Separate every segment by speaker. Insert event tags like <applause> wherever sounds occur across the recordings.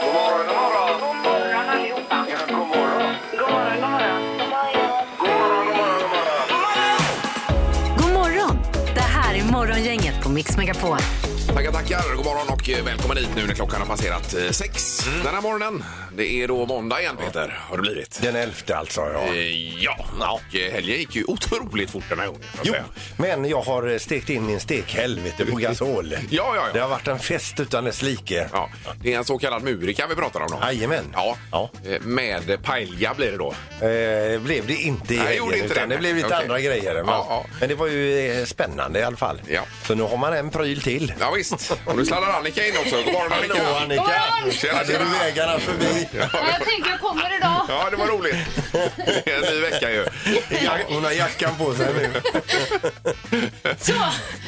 Speaker 1: God morgon, god morgon.
Speaker 2: God morgon allihopa.
Speaker 1: Ja, god morgon.
Speaker 2: God morgon, god morgon.
Speaker 1: God morgon, god morgon, god morgon.
Speaker 3: God morgon! Det här är Morgongänget på Mix Megapol.
Speaker 4: Tackar, tackar. God morgon och eh, välkommen hit nu när klockan har passerat eh, sex den här morgonen. Det är då måndag igen, Peter, har det blivit.
Speaker 5: Den elfte alltså, ja.
Speaker 4: Eh, Ja, och eh, helgen gick ju otroligt fort den här gången. så att
Speaker 5: Jo,
Speaker 4: säga.
Speaker 5: men jag har eh, stekt in min stekhelvete på gasol. ja,
Speaker 4: ja.
Speaker 5: Det har varit en fest utan dess like.
Speaker 4: Ja, det är en så kallad murika vi pratar om då.
Speaker 5: Jajamän.
Speaker 4: Ja,
Speaker 5: Ja.
Speaker 4: Eh, med paella blir det då.
Speaker 5: Eh, blev det inte i
Speaker 4: Nej,
Speaker 5: helgen,
Speaker 4: gjorde inte
Speaker 5: utan
Speaker 4: det.
Speaker 5: det blev lite
Speaker 4: Okej.
Speaker 5: andra grejer. Men,
Speaker 4: Ja, ja.
Speaker 5: men det var ju eh, spännande i alla fall.
Speaker 4: Ja.
Speaker 5: Så nu har man en pryl till.
Speaker 4: Ja, visst. Och nu sladdar Annika in också. God morgon Annika.
Speaker 5: Annika!
Speaker 4: Tjena,
Speaker 5: Hade
Speaker 4: tjena.
Speaker 5: du vägarna förbi?
Speaker 6: Ja, jag tänkte jag kommer idag.
Speaker 4: Ja, det var roligt. Det är en ny vecka ju.
Speaker 5: Ja, Hon har jackan på sig nu.
Speaker 6: Så,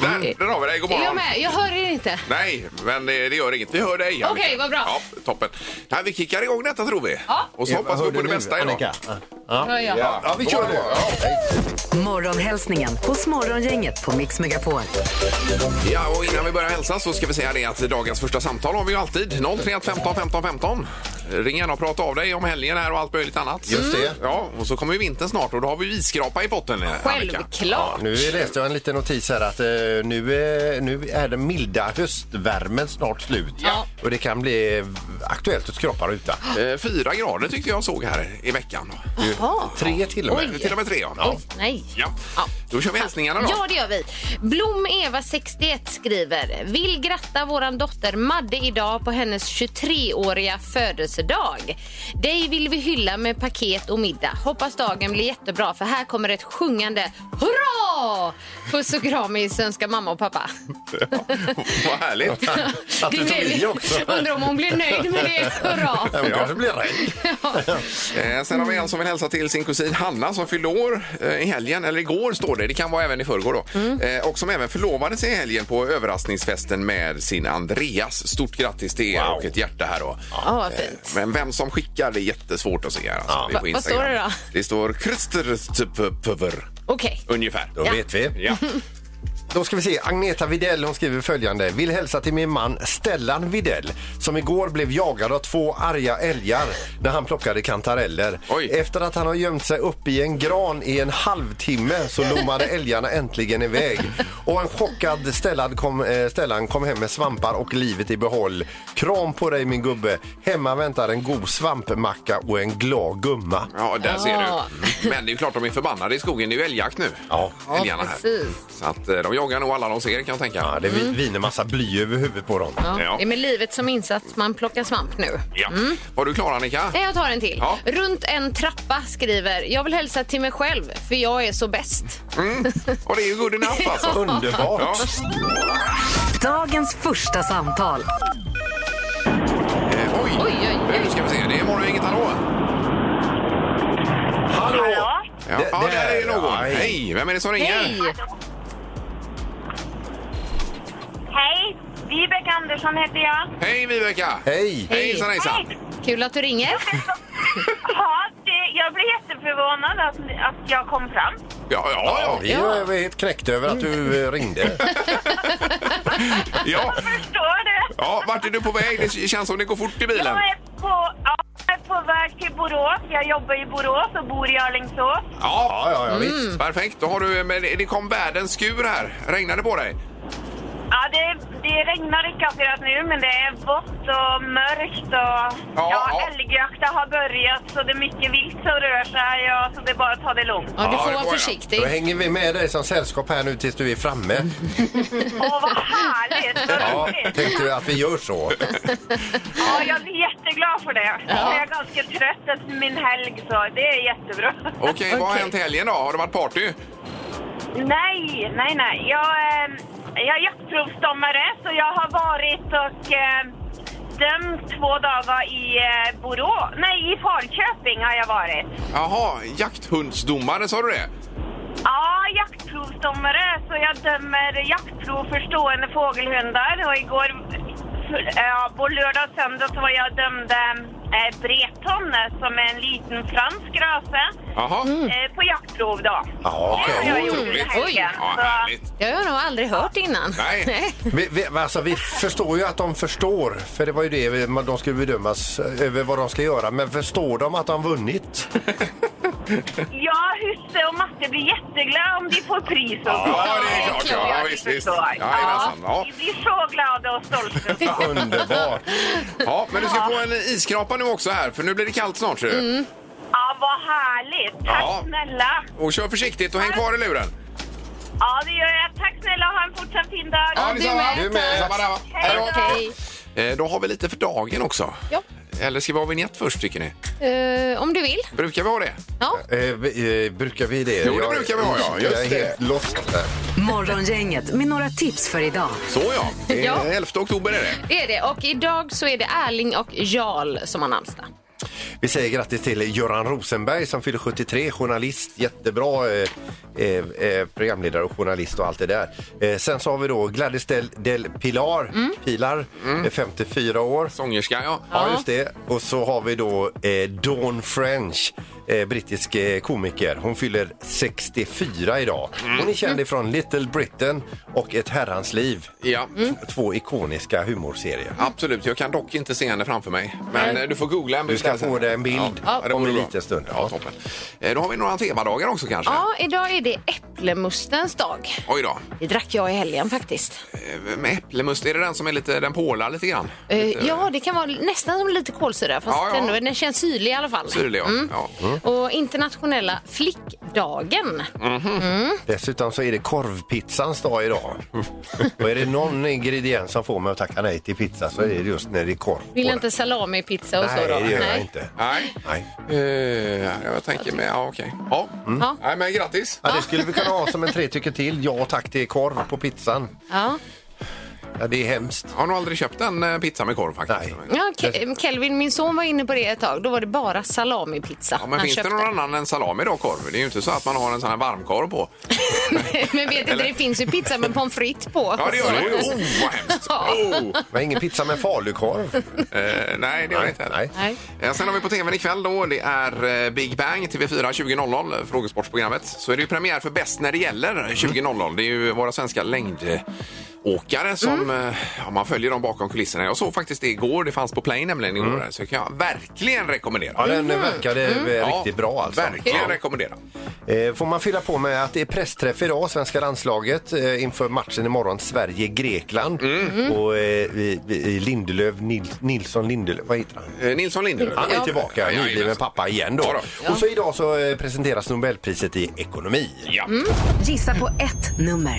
Speaker 4: Där, där har vi dig. God
Speaker 6: är jag
Speaker 4: morgon.
Speaker 6: med? Jag hör er inte.
Speaker 4: Nej, men eh, det, det gör inget. Vi hör dig. Annika.
Speaker 6: Okej, vad bra.
Speaker 4: Ja, toppen. Nej, vi kickar igång detta tror vi.
Speaker 6: Ja.
Speaker 4: Och så hoppas vi på det bästa idag.
Speaker 5: Annika?
Speaker 6: Ja, ja.
Speaker 5: Ja, vi kör nu.
Speaker 3: Morgonhälsningen hos Morgongänget på Mix Megapol.
Speaker 4: Ja, och innan vi börjar hälsa så ska vi säga det att dagens första samtal har vi ju alltid. 031 15 15 15. Ring gärna och prata av dig om helgen här och allt möjligt annat. Mm.
Speaker 5: Just det.
Speaker 4: Ja, och så kommer ju vintern snart och då har vi ju isskrapa i potten, eh, Annika.
Speaker 6: Självklart.
Speaker 5: Nu läste jag en liten notis här att eh, nu, eh, nu är den milda höstvärmen snart slut.
Speaker 6: Ja.
Speaker 5: Och det kan bli aktuellt att skrapa ruta.
Speaker 4: Eh, Fyra grader tyckte jag såg här i veckan.
Speaker 6: Jaha.
Speaker 5: Tre till och med.
Speaker 4: Till och med tre, ja.
Speaker 6: Oj, nej.
Speaker 4: Ja. Då kör vi hälsningarna då.
Speaker 6: Ja, det gör vi. Blom Eva 61 skriver. Vill gratta våran dotter Madde idag på hennes 23-åriga födelsedag. Dig vill vi hylla med paket och middag. Hoppas dagen blir jättebra för här kommer ett sjungande hurra! Puss och kramis önskar mamma och pappa.
Speaker 4: <laughs> Vad härligt.
Speaker 5: Att
Speaker 6: Det
Speaker 5: du tog
Speaker 6: blev-
Speaker 5: i också.
Speaker 6: Undrar om hon blir nöjd med det. Hurra!
Speaker 4: <laughs>
Speaker 5: Ja, Hon kanske blir rädd.
Speaker 4: Eh, sen har vi en som vill hälsa till sin kusin Hanna som fyllde år eh, i helgen, eller igår står det, det kan vara även i förrgår då.
Speaker 6: Mm.
Speaker 4: Eh, och som även förlovade sig i helgen på överraskningsfesten med sin Andreas. Stort grattis till er
Speaker 5: Wow.
Speaker 4: och ett hjärta här då. Eh,
Speaker 6: Ja, vad fint.
Speaker 4: Men vem som skickar det är jättesvårt att se här. Alltså, det är på
Speaker 6: Va- vad
Speaker 4: Instagram.
Speaker 6: står det då?
Speaker 4: Det står Christer
Speaker 6: Okej.
Speaker 4: ungefär.
Speaker 5: Då
Speaker 6: Ja.
Speaker 5: vet vi.
Speaker 4: Ja.
Speaker 5: Då ska vi se. Agneta Videll hon skriver följande. Vill hälsa till min man Stellan Videll som igår blev jagad av två arga älgar när han plockade kantareller.
Speaker 4: Oj.
Speaker 5: Efter att han har gömt sig upp i en gran i en halvtimme så lommade älgarna äntligen iväg. Och en chockad Stellan kom, eh, Stellan kom hem med svampar och livet i behåll. Kram på dig min gubbe. Hemma väntar en god svampmacka och en glad gumma.
Speaker 4: Ja, där ser
Speaker 6: Ja.
Speaker 4: du. Men det är ju klart de är förbannade i skogen. Det är ju älgjakt nu.
Speaker 5: Ja.
Speaker 4: Älgarna här.
Speaker 6: precis.
Speaker 4: Så att eh, de jagar nog alla de ser kan jag tänka.
Speaker 5: Ja, det vi- viner massa bly över huvudet på dem.
Speaker 6: Ja.
Speaker 4: Ja.
Speaker 6: Det är med livet som insats man plockar svamp nu.
Speaker 4: Ja.
Speaker 6: Mm.
Speaker 4: Var du klar Annika?
Speaker 6: Nej, Jag tar en till.
Speaker 4: Ja.
Speaker 6: Runt en trappa skriver jag vill hälsa till mig själv för jag är så bäst.
Speaker 4: Och det är ju good
Speaker 2: <laughs>
Speaker 4: enough alltså.
Speaker 5: Underbart!
Speaker 4: Ja.
Speaker 3: Dagens första samtal.
Speaker 4: Eh, oj.
Speaker 6: Oj, oj, oj.
Speaker 4: Nu ska vi se. Det är morgon, inget hallå.
Speaker 5: Hallå!
Speaker 2: Hallå?
Speaker 4: Ja,
Speaker 5: Det-
Speaker 4: det,
Speaker 5: det
Speaker 4: där är
Speaker 5: är-
Speaker 4: någon.
Speaker 5: ja, hej.
Speaker 4: Hej, vem är det som ringer?
Speaker 6: Hej!
Speaker 2: Hej, Vibeke Andersson heter jag.
Speaker 4: Hej, Viveka.
Speaker 5: Hej!
Speaker 4: Hejsan, hejsan.
Speaker 2: Hej.
Speaker 6: Kul att du ringer.
Speaker 2: Ja, det, jag blev jätteförvånad att, att jag kom fram.
Speaker 4: Ja, ja, ja.
Speaker 5: Vi är helt knäckta över att du eh, ringde.
Speaker 4: ja.
Speaker 2: Förstår du?
Speaker 4: Ja, vart är du på väg? Det känns som det går fort i bilen.
Speaker 2: Jag är på, ja, jag är på väg till Borås. Jag jobbar i Borås och bor i Alingsås.
Speaker 4: Ja,
Speaker 5: ja,
Speaker 4: visst. Perfekt. Då har du, eh, men det kom världens skur här. Regnade på dig?
Speaker 2: Ja, det, det regnar i kafferet nu, men det är vått och mörkt och
Speaker 4: Ja,
Speaker 2: ja,
Speaker 4: ja.
Speaker 2: älgjakten har börjat så det är mycket vilt som rör sig och, så det är bara att ta det lugnt.
Speaker 6: Ja, du
Speaker 4: Ja,
Speaker 6: får
Speaker 4: det
Speaker 6: vara
Speaker 4: får jag.
Speaker 6: försiktig.
Speaker 5: Då hänger vi med dig som sällskap här nu tills du är framme.
Speaker 2: Åh, vad härligt! Vad
Speaker 5: Ja,
Speaker 2: roligt!
Speaker 5: tänkte jag att vi gör så.
Speaker 2: Ja, jag är jätteglad för det. Jag är ganska trött efter min helg, så det är jättebra.
Speaker 4: Okej, vad har hänt i helgen då? Har det varit party?
Speaker 2: Nej, nej, nej. Jag, eh, jag är jaktprovsdomare, så jag har varit och eh, dömt två dagar i eh, Borås. Nej, i Falköping har jag varit.
Speaker 4: Jaha, jakthundsdomare sa du det?
Speaker 2: Ja, jaktprovsdomare, så jag dömer jaktprov för stående fågelhundar. Och igår, ja, på lördag och söndag så var jag och dömde eh, bretonne som är en liten fransk rase
Speaker 4: Jaha.
Speaker 2: eh, på jaktprov då.
Speaker 5: Ja, okej.
Speaker 2: Det har jag gjort
Speaker 6: Mm,
Speaker 2: i
Speaker 6: oj.
Speaker 2: helgen.
Speaker 4: Ja,
Speaker 2: så-
Speaker 4: härligt.
Speaker 6: Det har jag nog aldrig hört innan. <laughs>
Speaker 4: Nej.
Speaker 5: Vi, vi, alltså, vi förstår ju att de förstår, för det var ju det vi- de skulle bedömas eh, över vad de ska göra. Men förstår de att de vunnit?
Speaker 2: Ja, Husse och Matte blir jätteglada om de får pris och så.
Speaker 4: Ja, det är klart. Ja,
Speaker 6: Ja,
Speaker 4: visst,
Speaker 2: det
Speaker 4: visst.
Speaker 2: förstår
Speaker 4: Ja,
Speaker 2: jag.
Speaker 4: jajamensan. ja.
Speaker 2: Vi blir så glada och stolta.
Speaker 4: <laughs>
Speaker 5: Underbart!
Speaker 4: ja, men du ska få en iskrapa nu också här, för nu blir det kallt snart.
Speaker 2: Mm.
Speaker 4: ser du.
Speaker 2: Ja, vad härligt. Tack
Speaker 4: Ja.
Speaker 2: snälla.
Speaker 4: Och kör försiktigt och häng kvar i luren.
Speaker 2: Ja, det gör jag. Tack snälla och ha en fortsatt fin dag.
Speaker 4: Ja,
Speaker 6: du
Speaker 4: detsamma.
Speaker 6: med, Du med.
Speaker 4: Detsamma, detsamma. Hej då.
Speaker 6: Okej.
Speaker 4: Eh, Då har vi lite för dagen också.
Speaker 6: Ja.
Speaker 4: Eller ska vi ha vignett först tycker ni?
Speaker 6: Eh, om du vill.
Speaker 4: Brukar vi ha det?
Speaker 6: Ja.
Speaker 5: Eh, vi- eh, brukar vi det?
Speaker 4: Jo, det brukar vi ha, ja. Just
Speaker 5: jag är
Speaker 4: det.
Speaker 5: helt lost där.
Speaker 3: Morgongänget med några tips för idag.
Speaker 4: Så ja, det är
Speaker 6: Ja.
Speaker 4: 11 oktober är det.
Speaker 6: Det är det. Och idag så är det Erling och Jarl som har namnsdag.
Speaker 5: Vi säger grattis till Göran Rosenberg som fyller 73, journalist, jättebra eh, eh, eh, programledare och journalist och allt det där. Eh, sen så har vi då Gladys del, del Pilar, Pilar eh, 54 år.
Speaker 4: Sångerska, Mm. ja.
Speaker 5: Ja, just det. Och så har vi då eh, Dawn French, eh, brittisk eh, komiker. Hon fyller 64 idag.
Speaker 4: Mm.
Speaker 5: Hon är känd ifrån Little Britain och Ett herrans liv.
Speaker 4: Ja.
Speaker 5: Två ikoniska humorserier.
Speaker 4: Absolut, jag kan dock inte se henne framför mig. Men eh, du får googla en
Speaker 5: Du ska
Speaker 4: bild sen.
Speaker 5: få dig en bild
Speaker 4: Ja, det
Speaker 5: om
Speaker 4: vore
Speaker 5: en
Speaker 4: bra.
Speaker 5: liten stund.
Speaker 4: Ja, toppen. Eh, Då har vi några temadagar också kanske.
Speaker 6: Ja, idag är det äpplemustens dag.
Speaker 4: Oj då.
Speaker 6: Det drack jag i helgen faktiskt.
Speaker 4: Eh, Med äpplemust, är det den som är lite, den pålar lite grann?
Speaker 6: Eh, ja, det kan vara nästan som lite kolsyra fast
Speaker 4: Ja, ja.
Speaker 6: ändå, den känns syrlig i alla fall.
Speaker 4: Syrlig, ja. ja.
Speaker 6: Och internationella flickdagen.
Speaker 4: Mm.
Speaker 5: Dessutom så är det korvpizzans dag
Speaker 6: <laughs>
Speaker 5: idag. och är det någon ingrediens som får mig att tacka nej till pizza så är det just när det är korv på
Speaker 6: Vill
Speaker 5: den.
Speaker 6: jag inte salamipizza och så
Speaker 5: Nej,
Speaker 6: då?
Speaker 5: det gör jag inte.
Speaker 4: Nej.
Speaker 5: Nej.
Speaker 4: Eh, jag tänker med, ja okej. Ja.
Speaker 6: Ja.
Speaker 4: Nej men grattis.
Speaker 5: Ja, det skulle vi kunna ha som en tre tycker till. Ja tack till korv på pizzan.
Speaker 6: Ja.
Speaker 5: Ja, det är hemskt.
Speaker 4: Jag har nog aldrig köpt en eh, pizza med korv faktiskt.
Speaker 5: Nej.
Speaker 6: Ja, Ke- mm, Kelvin, min son var inne på det ett tag. Då var det bara salamipizza
Speaker 4: Ja, men
Speaker 6: han
Speaker 4: finns
Speaker 6: köpte.
Speaker 4: det någon annan än salami då, korv? Det är ju inte så att man har en sån här varmkorv på.
Speaker 6: <laughs> men vet inte,
Speaker 4: Eller?
Speaker 6: det finns ju pizza med pommes frites på.
Speaker 4: Ja, det gör det. Oh, vad hemskt! Oh.
Speaker 5: Men ingen pizza med falukorv.
Speaker 4: Eh, nej, det gör det inte.
Speaker 5: Nej.
Speaker 6: Nej.
Speaker 4: Eh, Sen har vi på tvn ikväll då, det är eh, Big Bang TV4 20.00, eh, frågesportprogrammet. Så är det ju premiär för Bäst när det gäller 20.00. Det är ju våra svenska längdåkare som
Speaker 5: Mm.
Speaker 4: eh, ja, man följer dem bakom kulisserna. Jag såg faktiskt det igår, det fanns på Play nämligen igår. Så det kan jag verkligen rekommendera.
Speaker 5: Mm. Ja, den
Speaker 6: Mm.
Speaker 5: verkade eh, riktigt bra alltså.
Speaker 4: Verkligen rekommendera.
Speaker 5: Eh, Får man fylla på med att det är pressträff idag, svenska landslaget, eh, inför matchen imorgon Sverige-Grekland.
Speaker 6: Mm.
Speaker 5: Och eh, i- i Lindelöf, Nil- Nilsson Lindelöf, vad heter han?
Speaker 4: Eh, Nilsson Lindelöf.
Speaker 5: Han är tillbaka,
Speaker 4: Ja,
Speaker 5: nybliven
Speaker 4: jajamän.
Speaker 5: pappa igen då.
Speaker 4: Ja,
Speaker 5: Och så idag så eh, presenteras Nobelpriset i ekonomi.
Speaker 4: Ja.
Speaker 3: Gissa på ett nummer.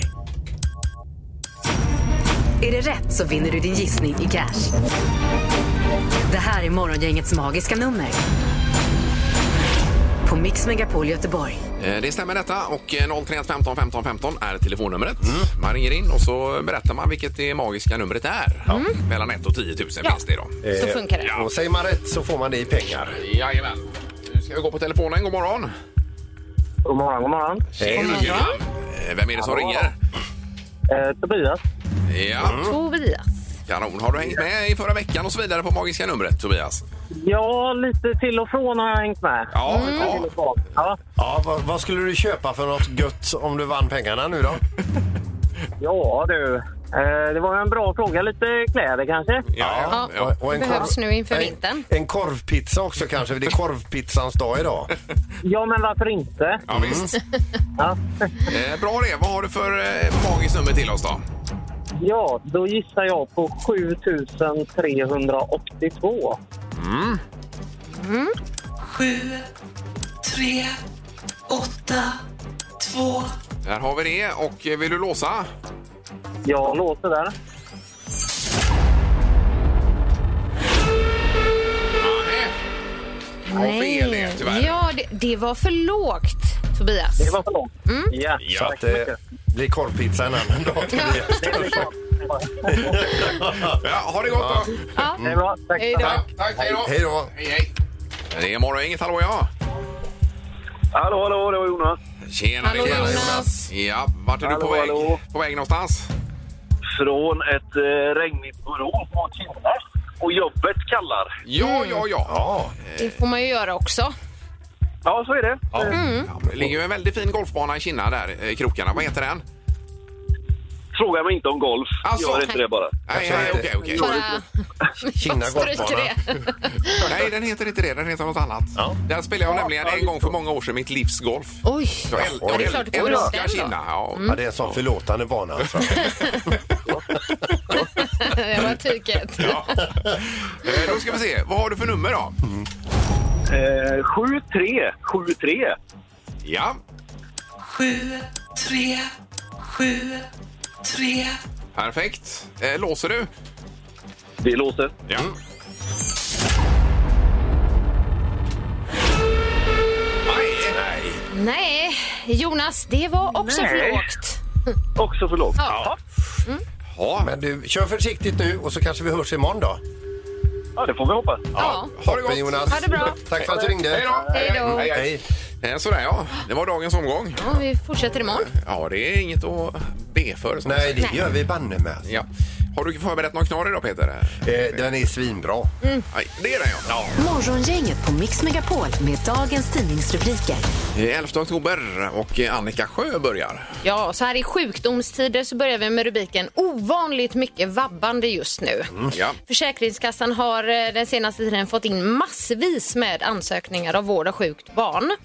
Speaker 3: Är det rätt så vinner du din gissning i cash. Det här är Morgongängets magiska nummer. På Mix Megapol Göteborg.
Speaker 4: Eh, Det stämmer detta och eh, 031 15 15 15 är telefonnumret. Man ringer in och så berättar man vilket det magiska numret är. Mm. Mellan 1 och 10 000 finns det idag.
Speaker 6: Så funkar det.
Speaker 5: Eh, Och säger man rätt så får man det i pengar.
Speaker 4: Jajamän. Nu ska vi gå på telefonen. God morgon.
Speaker 7: God morgon, god morgon.
Speaker 5: Hej.
Speaker 4: Eh, Vem är det som
Speaker 7: Hallå.
Speaker 4: ringer?
Speaker 7: Eh, Tobias.
Speaker 4: Ja,
Speaker 6: Tobias.
Speaker 4: kanon. Har du hängt med i förra veckan och så vidare på magiska numret, Tobias?
Speaker 7: Ja, lite till och från har jag hängt med.
Speaker 4: Ja, ja.
Speaker 7: Ja,
Speaker 5: Ja, vad, vad skulle du köpa för något gött om du vann pengarna nu då?
Speaker 7: ja du. Eh, det var en bra fråga. Lite kläder kanske?
Speaker 4: ja, ja.
Speaker 5: Och- och
Speaker 6: det behövs nu inför vintern.
Speaker 5: En, en korvpizza också kanske, för det är korvpizzans dag idag.
Speaker 7: Ja, men varför inte?
Speaker 4: ja visst.
Speaker 7: Ja,
Speaker 4: Eh, Bra det. Vad har du för eh, magiskt nummer till oss då?
Speaker 7: ja då gissar jag på 7382.
Speaker 8: sju, tre, åtta, två,
Speaker 4: Där har vi det. Och eh, vill du låsa?
Speaker 7: Jag låter där.
Speaker 4: Nej. Ja, fel det tyvärr.
Speaker 6: Ja, det, det var för lågt, Tobias.
Speaker 7: Det var för långt. Ja,
Speaker 5: Så att det blir korvpizza en annan dag. Tobias.
Speaker 4: Ja, ha det gott då!
Speaker 6: Ja.
Speaker 7: Det är bra. Tack.
Speaker 6: Hej då.
Speaker 4: Tack, tack, hej då!
Speaker 5: <laughs> Hej då!
Speaker 4: Hej, hej! Det är Morgongänget, hallå ja!
Speaker 9: Hallå, hallå, det var Jonas.
Speaker 4: Tjena,
Speaker 6: Hallå,
Speaker 4: tjena,
Speaker 6: Jonas.
Speaker 4: Ja, vart är du
Speaker 9: Hallå,
Speaker 4: på väg?
Speaker 9: hallå.
Speaker 4: På väg någonstans?
Speaker 9: Från ett eh, regnigt Borås mot Kinna och jobbet kallar.
Speaker 6: Mm.
Speaker 4: Ja, ja, ja.
Speaker 5: Ja,
Speaker 6: Det får man ju göra också.
Speaker 9: Ja, så är det.
Speaker 4: ja.
Speaker 6: Mm.
Speaker 4: Det ligger ju en väldigt fin golfbana i Kina där, eh, i krokarna. Vad heter den?
Speaker 9: Fråga mig inte om golf.
Speaker 4: Alltså.
Speaker 9: Gör inte det bara.
Speaker 4: Nej,
Speaker 5: Jag
Speaker 4: nej,
Speaker 5: säger-
Speaker 4: okej, okej.
Speaker 6: Bara <laughs>
Speaker 5: Kina
Speaker 6: stryker
Speaker 5: golfbana.
Speaker 6: det.
Speaker 4: Nej, den heter inte det. Den heter något annat.
Speaker 5: Ja.
Speaker 4: Där spelade jag nämligen en gång för många år sedan mitt livs golf.
Speaker 6: <laughs> Oj.
Speaker 4: Jag äl-
Speaker 5: Ja, det är
Speaker 4: jag
Speaker 6: klart det går runt
Speaker 4: älskar
Speaker 6: den då. Mm.
Speaker 4: Kina. Ja.
Speaker 5: Ja, det är en sån förlåtande bana alltså.
Speaker 6: Det var tyket.
Speaker 4: Ja. <laughs> Eh, Då ska vi se. Vad har du för nummer då?
Speaker 9: Eh, 7-3. 7-3.
Speaker 4: Ja.
Speaker 8: sju tre sju tre
Speaker 4: Perfekt. Eh, Låser du? Mm.
Speaker 9: Det låter.
Speaker 4: Ja. Nej, nej.
Speaker 6: Nej, Jonas, det var också
Speaker 9: Nej.
Speaker 6: för lågt.
Speaker 9: Också för lågt.
Speaker 6: Ja.
Speaker 4: Ja,
Speaker 5: Men du, kör försiktigt nu och så kanske vi hörs imorgon då.
Speaker 9: Ja, det får vi hoppas.
Speaker 6: Ja.
Speaker 4: ha det
Speaker 5: Toppen,
Speaker 4: gott.
Speaker 5: Jonas.
Speaker 6: Ha det bra.
Speaker 5: Tack för att du ringde.
Speaker 4: Hej då.
Speaker 6: Hej då.
Speaker 4: Hej, hej.
Speaker 5: Hej.
Speaker 4: Eh, Sådär ja, det var dagens omgång.
Speaker 6: Ja, vi fortsätter imorgon.
Speaker 4: Ja, det är inget att be för. som
Speaker 5: Nej,
Speaker 6: Nej.
Speaker 5: det gör vi banne med. alltså.
Speaker 4: Ja. Har du förberett någon knorr idag Peter?
Speaker 5: Eh, den är svinbra.
Speaker 4: Nej, det är den ja.
Speaker 3: Morgongänget på Mix Megapol med dagens tidningsrubriker.
Speaker 4: Eh, 11 oktober och eh, Annika Sjö börjar.
Speaker 6: Ja, så här i sjukdomstider så börjar vi med rubriken ovanligt mycket vabbande just nu.
Speaker 4: Ja.
Speaker 6: Försäkringskassan har eh, den senaste tiden fått in massvis med ansökningar av vård av sjukt barn.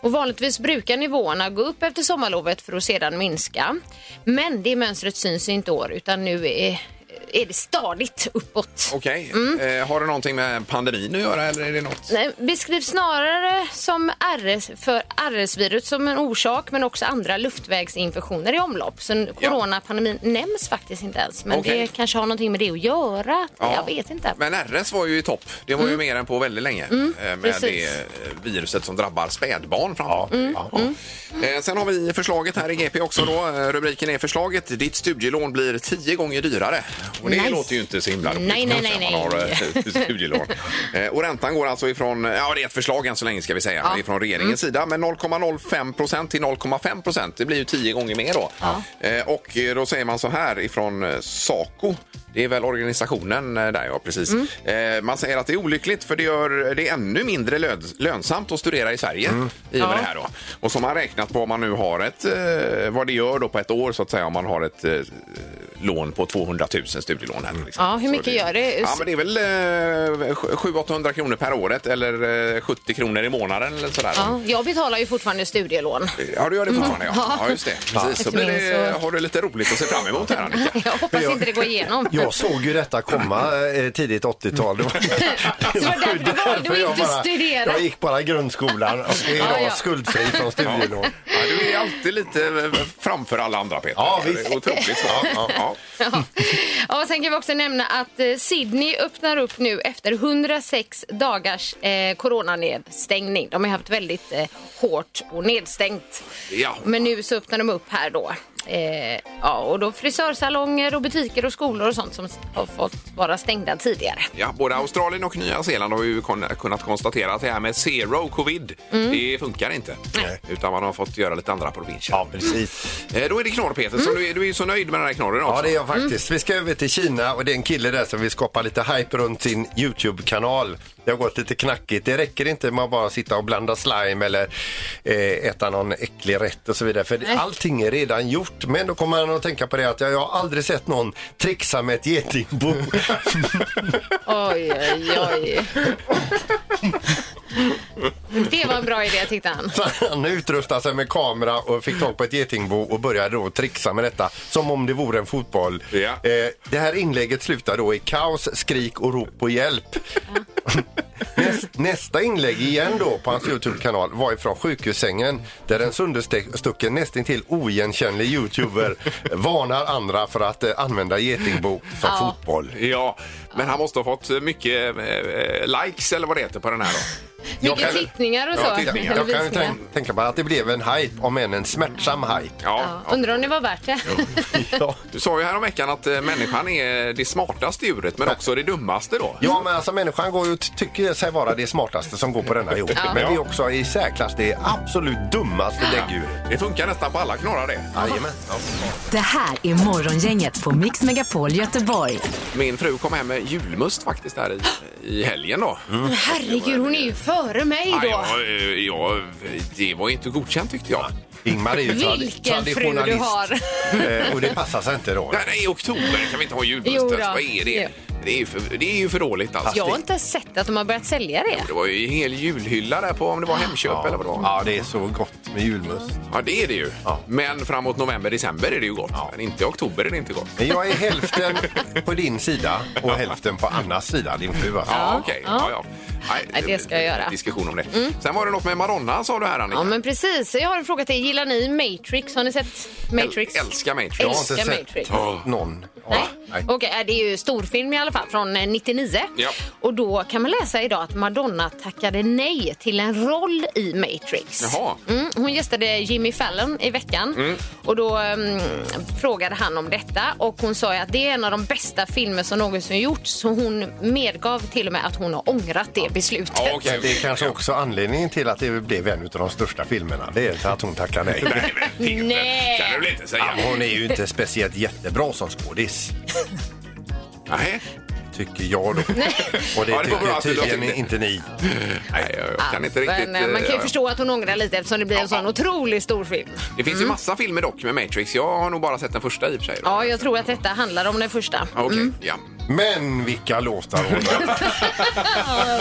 Speaker 6: Och vanligtvis brukar nivåerna gå upp efter sommarlovet för att sedan minska. Men det mönstret syns inte i år utan nu är, är det stadigt uppåt.
Speaker 4: Okej. Eh, har det någonting med pandemin att göra eller är det något?
Speaker 6: Nej, beskrivs snarare som RS, för RS-virus som en orsak men också andra luftvägsinfektioner i omlopp. Så n-
Speaker 4: Ja.
Speaker 6: coronapandemin nämns faktiskt inte ens. Men
Speaker 4: Okej.
Speaker 6: det kanske har någonting med det att göra.
Speaker 4: Ja.
Speaker 6: Jag vet inte.
Speaker 4: Men RS var ju i topp. Det var ju mer än på väldigt länge. eh, med det
Speaker 6: Mm. precis. Mm,
Speaker 4: eh, viruset som drabbar spädbarn framför
Speaker 5: Ja.
Speaker 4: Eh, Sen har vi förslaget här i GP också då. Eh, Rubriken är förslaget. Ditt studielån blir tio gånger dyrare. Och det
Speaker 6: Nice.
Speaker 4: låter ju inte så himla roligt.
Speaker 6: Nej, nej, nej,
Speaker 4: när
Speaker 6: nej.
Speaker 4: Man har eh, <laughs> studielån. Eh, Och räntan går alltså ifrån, ja det är ett förslag än så länge ska vi säga,
Speaker 6: Ja. Mm.
Speaker 4: ifrån regeringens sida. Men 0,05 procent till 0,5 procent. Det blir ju tio gånger mer då. Eh, Och eh, då säger man så här ifrån eh, Saco. Det är väl organisationen eh, där, ja precis.
Speaker 6: Mm.
Speaker 4: Eh, Man säger att det är olyckligt för det gör det ännu mindre lö- lönsamt att studera i Sverige
Speaker 6: Mm.
Speaker 4: i och med det här då. Och som man räknat på om man nu har ett, eh, vad det gör då på ett år så att säga om man har ett eh, lån på 200 000 studielån här. till exempel.
Speaker 6: Mm. Ja, hur mycket
Speaker 4: Så
Speaker 6: gör det?
Speaker 4: Ja, men det är väl eh, 700-800 kronor per året eller eh, 70 kronor i månaden eller sådär.
Speaker 6: Ja, jag betalar ju fortfarande studielån. <laughs>
Speaker 4: Ja, du gör det fortfarande. Ja, ja just det. Precis. Så blir det,
Speaker 6: Så-
Speaker 4: har du lite roligt att se fram emot här, Annika. <laughs>
Speaker 6: Jag hoppas
Speaker 5: Jag-
Speaker 6: inte det går igenom.
Speaker 5: Jag såg ju detta komma eh, tidigt 80-tal.
Speaker 6: <laughs>
Speaker 5: Det var,
Speaker 6: det var därför du valde att
Speaker 5: jag
Speaker 6: inte
Speaker 5: bara-
Speaker 6: studera.
Speaker 5: Jag gick bara grundskolan och är idag
Speaker 6: Ja, ja.
Speaker 5: skuldfri från studielån.
Speaker 4: Ja, du är alltid lite eh, framför alla andra, Peter.
Speaker 5: Ja,
Speaker 4: Det är
Speaker 5: visst.
Speaker 4: Otroligt bra. Ja, ja.
Speaker 6: Ja. Ja, och sen kan vi också nämna att eh, Sydney öppnar upp nu efter 106 dagars eh, coronanedstängning. De har haft väldigt eh, hårt och nedstängt.
Speaker 4: Ja.
Speaker 6: Men nu så öppnar de upp här då. Eh, ja, och då frisörsalonger och butiker och skolor och sånt som har fått vara stängda tidigare.
Speaker 4: Ja, både Australien och Nya Zeeland har ju kon- kunnat konstatera att det här med zero covid, det funkar inte. Utan man har fått göra lite andra provinscher.
Speaker 5: Ja, precis.
Speaker 4: Eh, Då är det knorr, Peter. Så du, är, du är ju så nöjd med den här knorren också.
Speaker 5: Ja, det är jag faktiskt. Vi ska över till Kina och det är en kille där som vill skapa lite hype runt sin Youtube-kanal. Det har gått lite knackigt. Det räcker inte med att bara sitta och blanda slime eller eh, äta någon äcklig rätt och så vidare. För allting är redan gjort. Men då kommer han att tänka på det att jag, jag har aldrig sett någon trixa med ett getingbo. <laughs>
Speaker 6: Oj, oj, oj. Det var en bra idé tyckte han.
Speaker 5: Så <laughs> han utrustade sig med kamera och fick tag på ett getingbo och började då trixa med detta som om det vore en fotboll.
Speaker 4: Ja.
Speaker 5: Eh, det här inlägget slutar då i kaos, skrik och rop på hjälp. <laughs> Näst, nästa inlägg igen då på hans Youtube-kanal var ifrån sjukhussängen där en sönderstucken nästintill oigenkännlig youtuber
Speaker 6: <laughs>
Speaker 5: varnar andra för att eh, använda getingbo som
Speaker 6: Ja.
Speaker 5: fotboll.
Speaker 4: eh, Ja, men han måste ha fått mycket eh, likes eller vad det heter på den här då.
Speaker 6: Mycket
Speaker 5: kan-
Speaker 6: tittningar och så.
Speaker 4: Ja, tittningar.
Speaker 5: Jag kan ju
Speaker 6: Visningar.
Speaker 5: tänk, tänka mig att det blev en hype, om än en smärtsam hype.
Speaker 4: Ja.
Speaker 6: Ja, undrar om det var värt det.
Speaker 5: Ja.
Speaker 4: Du sa ju häromveckan att eh, människan är det smartaste djuret men också det dummaste då.
Speaker 5: Ja, men alltså människan går ju och tycker sig vara det smartaste som går på denna jord. Men det är också i särklass det absolut dummaste däggdjuret.
Speaker 4: Det funkar nästan på alla knorrar det.
Speaker 5: Jajamän.
Speaker 3: Det här är Morgongänget på Mix Megapol Göteborg.
Speaker 4: Min fru kom hem med julmust faktiskt där i, i helgen då.
Speaker 6: Men Herregud, hon är ju före mig
Speaker 4: Ja,
Speaker 6: Mm. då.
Speaker 4: ja, eh, ja, det var inte godkänt tyckte jag.
Speaker 5: Ingmar är ju tra-
Speaker 6: Vilken fru du har.
Speaker 5: Eh, Och det passar sig inte då.
Speaker 4: Nej, nej, i oktober kan vi inte ha julmust.
Speaker 6: Jo då.
Speaker 4: Vad är det?
Speaker 6: Ja.
Speaker 4: Det är, ju för, det är ju för dåligt alltså.
Speaker 6: Jag har inte ens sett att de har börjat sälja det.
Speaker 4: Det var ju en hel julhylla där på om det var Hemköp eller vad det var.
Speaker 5: Ja, det är så gott med julmust.
Speaker 4: Ja, det är det ju.
Speaker 5: Ja.
Speaker 4: Men framåt november, december är det ju gott. Men inte i oktober är det inte gott.
Speaker 5: Men jag är hälften på din sida och hälften på Annas sida, din fru. Alltså.
Speaker 4: Ja, okej. Ja, ja.
Speaker 6: Nej, det ska jag göra. Mm.
Speaker 4: Diskussion om det. Sen var det något med Madonna sa du här Annika.
Speaker 6: Ja, men precis. Jag har en fråga till er. Gillar ni Matrix? Har ni sett Matrix?
Speaker 4: Äl- älskar Matrix.
Speaker 5: Jag har inte
Speaker 6: Älskar
Speaker 5: sett
Speaker 6: Matrix.
Speaker 5: någon.
Speaker 6: Nej.
Speaker 5: Nej.
Speaker 6: Okej, äh, det är ju storfilm i alla fall från eh, 99.
Speaker 4: Ja.
Speaker 6: Och då kan man läsa idag att Madonna tackade nej till en roll i Matrix.
Speaker 4: Jaha.
Speaker 6: Mm, hon gästade Jimmy Fallon i veckan och då mm, frågade han om detta och hon sa ju att det är en av de bästa filmer som någonsin gjorts så hon medgav till och med att hon har ångrat det beslutet.
Speaker 4: Ja, okej.
Speaker 5: Men Det är kanske också anledningen till att det blev en av de största filmerna. Det är inte att hon tackar nej.
Speaker 4: Nej, men Peter,
Speaker 6: Nej.
Speaker 4: kan du väl inte säga.
Speaker 5: Ja, Hon är ju inte speciellt jättebra som skådis,
Speaker 4: Nej,
Speaker 5: tycker jag då. Och
Speaker 4: Ja,
Speaker 5: det
Speaker 4: det var bra
Speaker 5: tycker
Speaker 4: att du la till
Speaker 5: tydligen
Speaker 4: det.
Speaker 5: inte ni.
Speaker 4: nej jag, jag kan inte riktigt.
Speaker 6: Men eh, man kan ju
Speaker 4: eh,
Speaker 6: förstå att hon ångrar lite eftersom det blir en sån otroligt stor film.
Speaker 4: Det finns ju massa filmer dock med Matrix. Jag har nog bara sett den första i och för sig. då.
Speaker 6: Mm. Ja, Mm. jag tror att detta handlar om den första.
Speaker 4: Okej, ja.
Speaker 5: Men vilka låtar hon
Speaker 6: <laughs>
Speaker 5: har.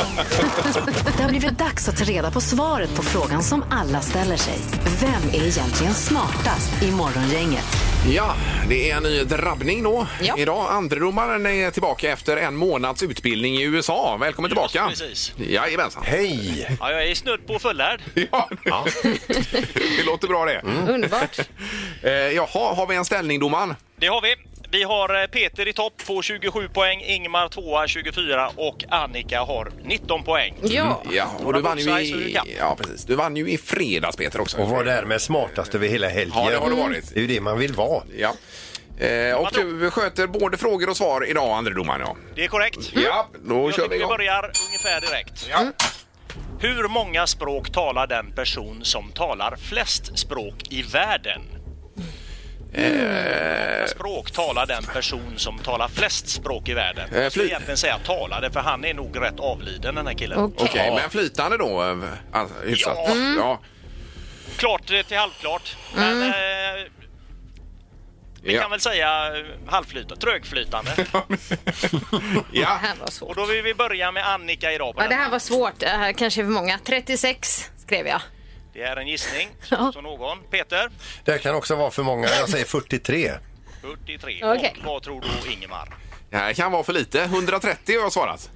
Speaker 3: Det har blivit dags att ta reda på svaret på frågan som alla ställer sig. Vem är egentligen smartast i Morgongänget?
Speaker 4: Ja, det är en ny drabbning då.
Speaker 6: Ja.
Speaker 4: Idag, andredomaren är tillbaka efter en månads utbildning i USA. Välkommen tillbaka!
Speaker 10: precis.
Speaker 4: Jajamensan!
Speaker 5: Hej!
Speaker 10: Ja, jag är snudd på fullärd.
Speaker 4: Ja. <laughs> det låter bra det.
Speaker 10: Mm.
Speaker 6: Underbart.
Speaker 4: <laughs> Eh, jaha, har vi en ställning domaren?
Speaker 10: Det har vi. Vi har eh, Peter i topp på 27 poäng, Ingmar tvåa 24 och Annika har 19 poäng.
Speaker 6: Ja.
Speaker 4: Ja, och du
Speaker 10: Några
Speaker 4: vann ju
Speaker 10: boxar så du
Speaker 4: i,
Speaker 10: kan.
Speaker 4: ja, precis. du vann ju i fredags Peter också.
Speaker 5: Och var därmed smartast över hela helgen.
Speaker 4: Ja, det har du varit.
Speaker 5: Det är ju det man vill vara.
Speaker 4: Ja. Eh, och du sköter både frågor och svar idag andredomaren ja.
Speaker 10: Det är korrekt.
Speaker 4: Ja, då
Speaker 10: Mm. Jag
Speaker 4: kör vi
Speaker 10: tycker vi
Speaker 4: igång.
Speaker 10: börjar ungefär direkt.
Speaker 4: Ja. Mm.
Speaker 10: Hur många språk talar den person som talar flest språk i världen?
Speaker 4: Eh,
Speaker 10: Vilka språk talar den person som talar flest språk i världen?
Speaker 4: Eh,
Speaker 10: Jag skulle
Speaker 4: fly-
Speaker 10: egentligen säga talade, för han är nog rätt avliden den här killen.
Speaker 6: Okej.
Speaker 4: Okej, men flytande då? eh, Alltså, hyfsat.
Speaker 10: Ja.
Speaker 4: Ja.
Speaker 10: Klart eh, till halvklart. Men eh, vi kan väl säga eh, halvflytande, trögflytande.
Speaker 4: ja.
Speaker 6: Det här var
Speaker 10: Och
Speaker 6: svårt.
Speaker 10: då vill vi börja med Annika idag. På
Speaker 6: Ja, det
Speaker 10: den.
Speaker 6: här var svårt. Det här kanske är för många. 36 skrev jag.
Speaker 10: det är en gissning.
Speaker 6: <laughs> Ja.
Speaker 10: Så någon. Peter?
Speaker 5: Det här kan också vara för många. Jag säger 43.
Speaker 10: 43.
Speaker 6: Okej.
Speaker 10: Och vad tror du Ingemar?
Speaker 6: <laughs>
Speaker 4: Det här kan vara för lite. 130 har jag svarat.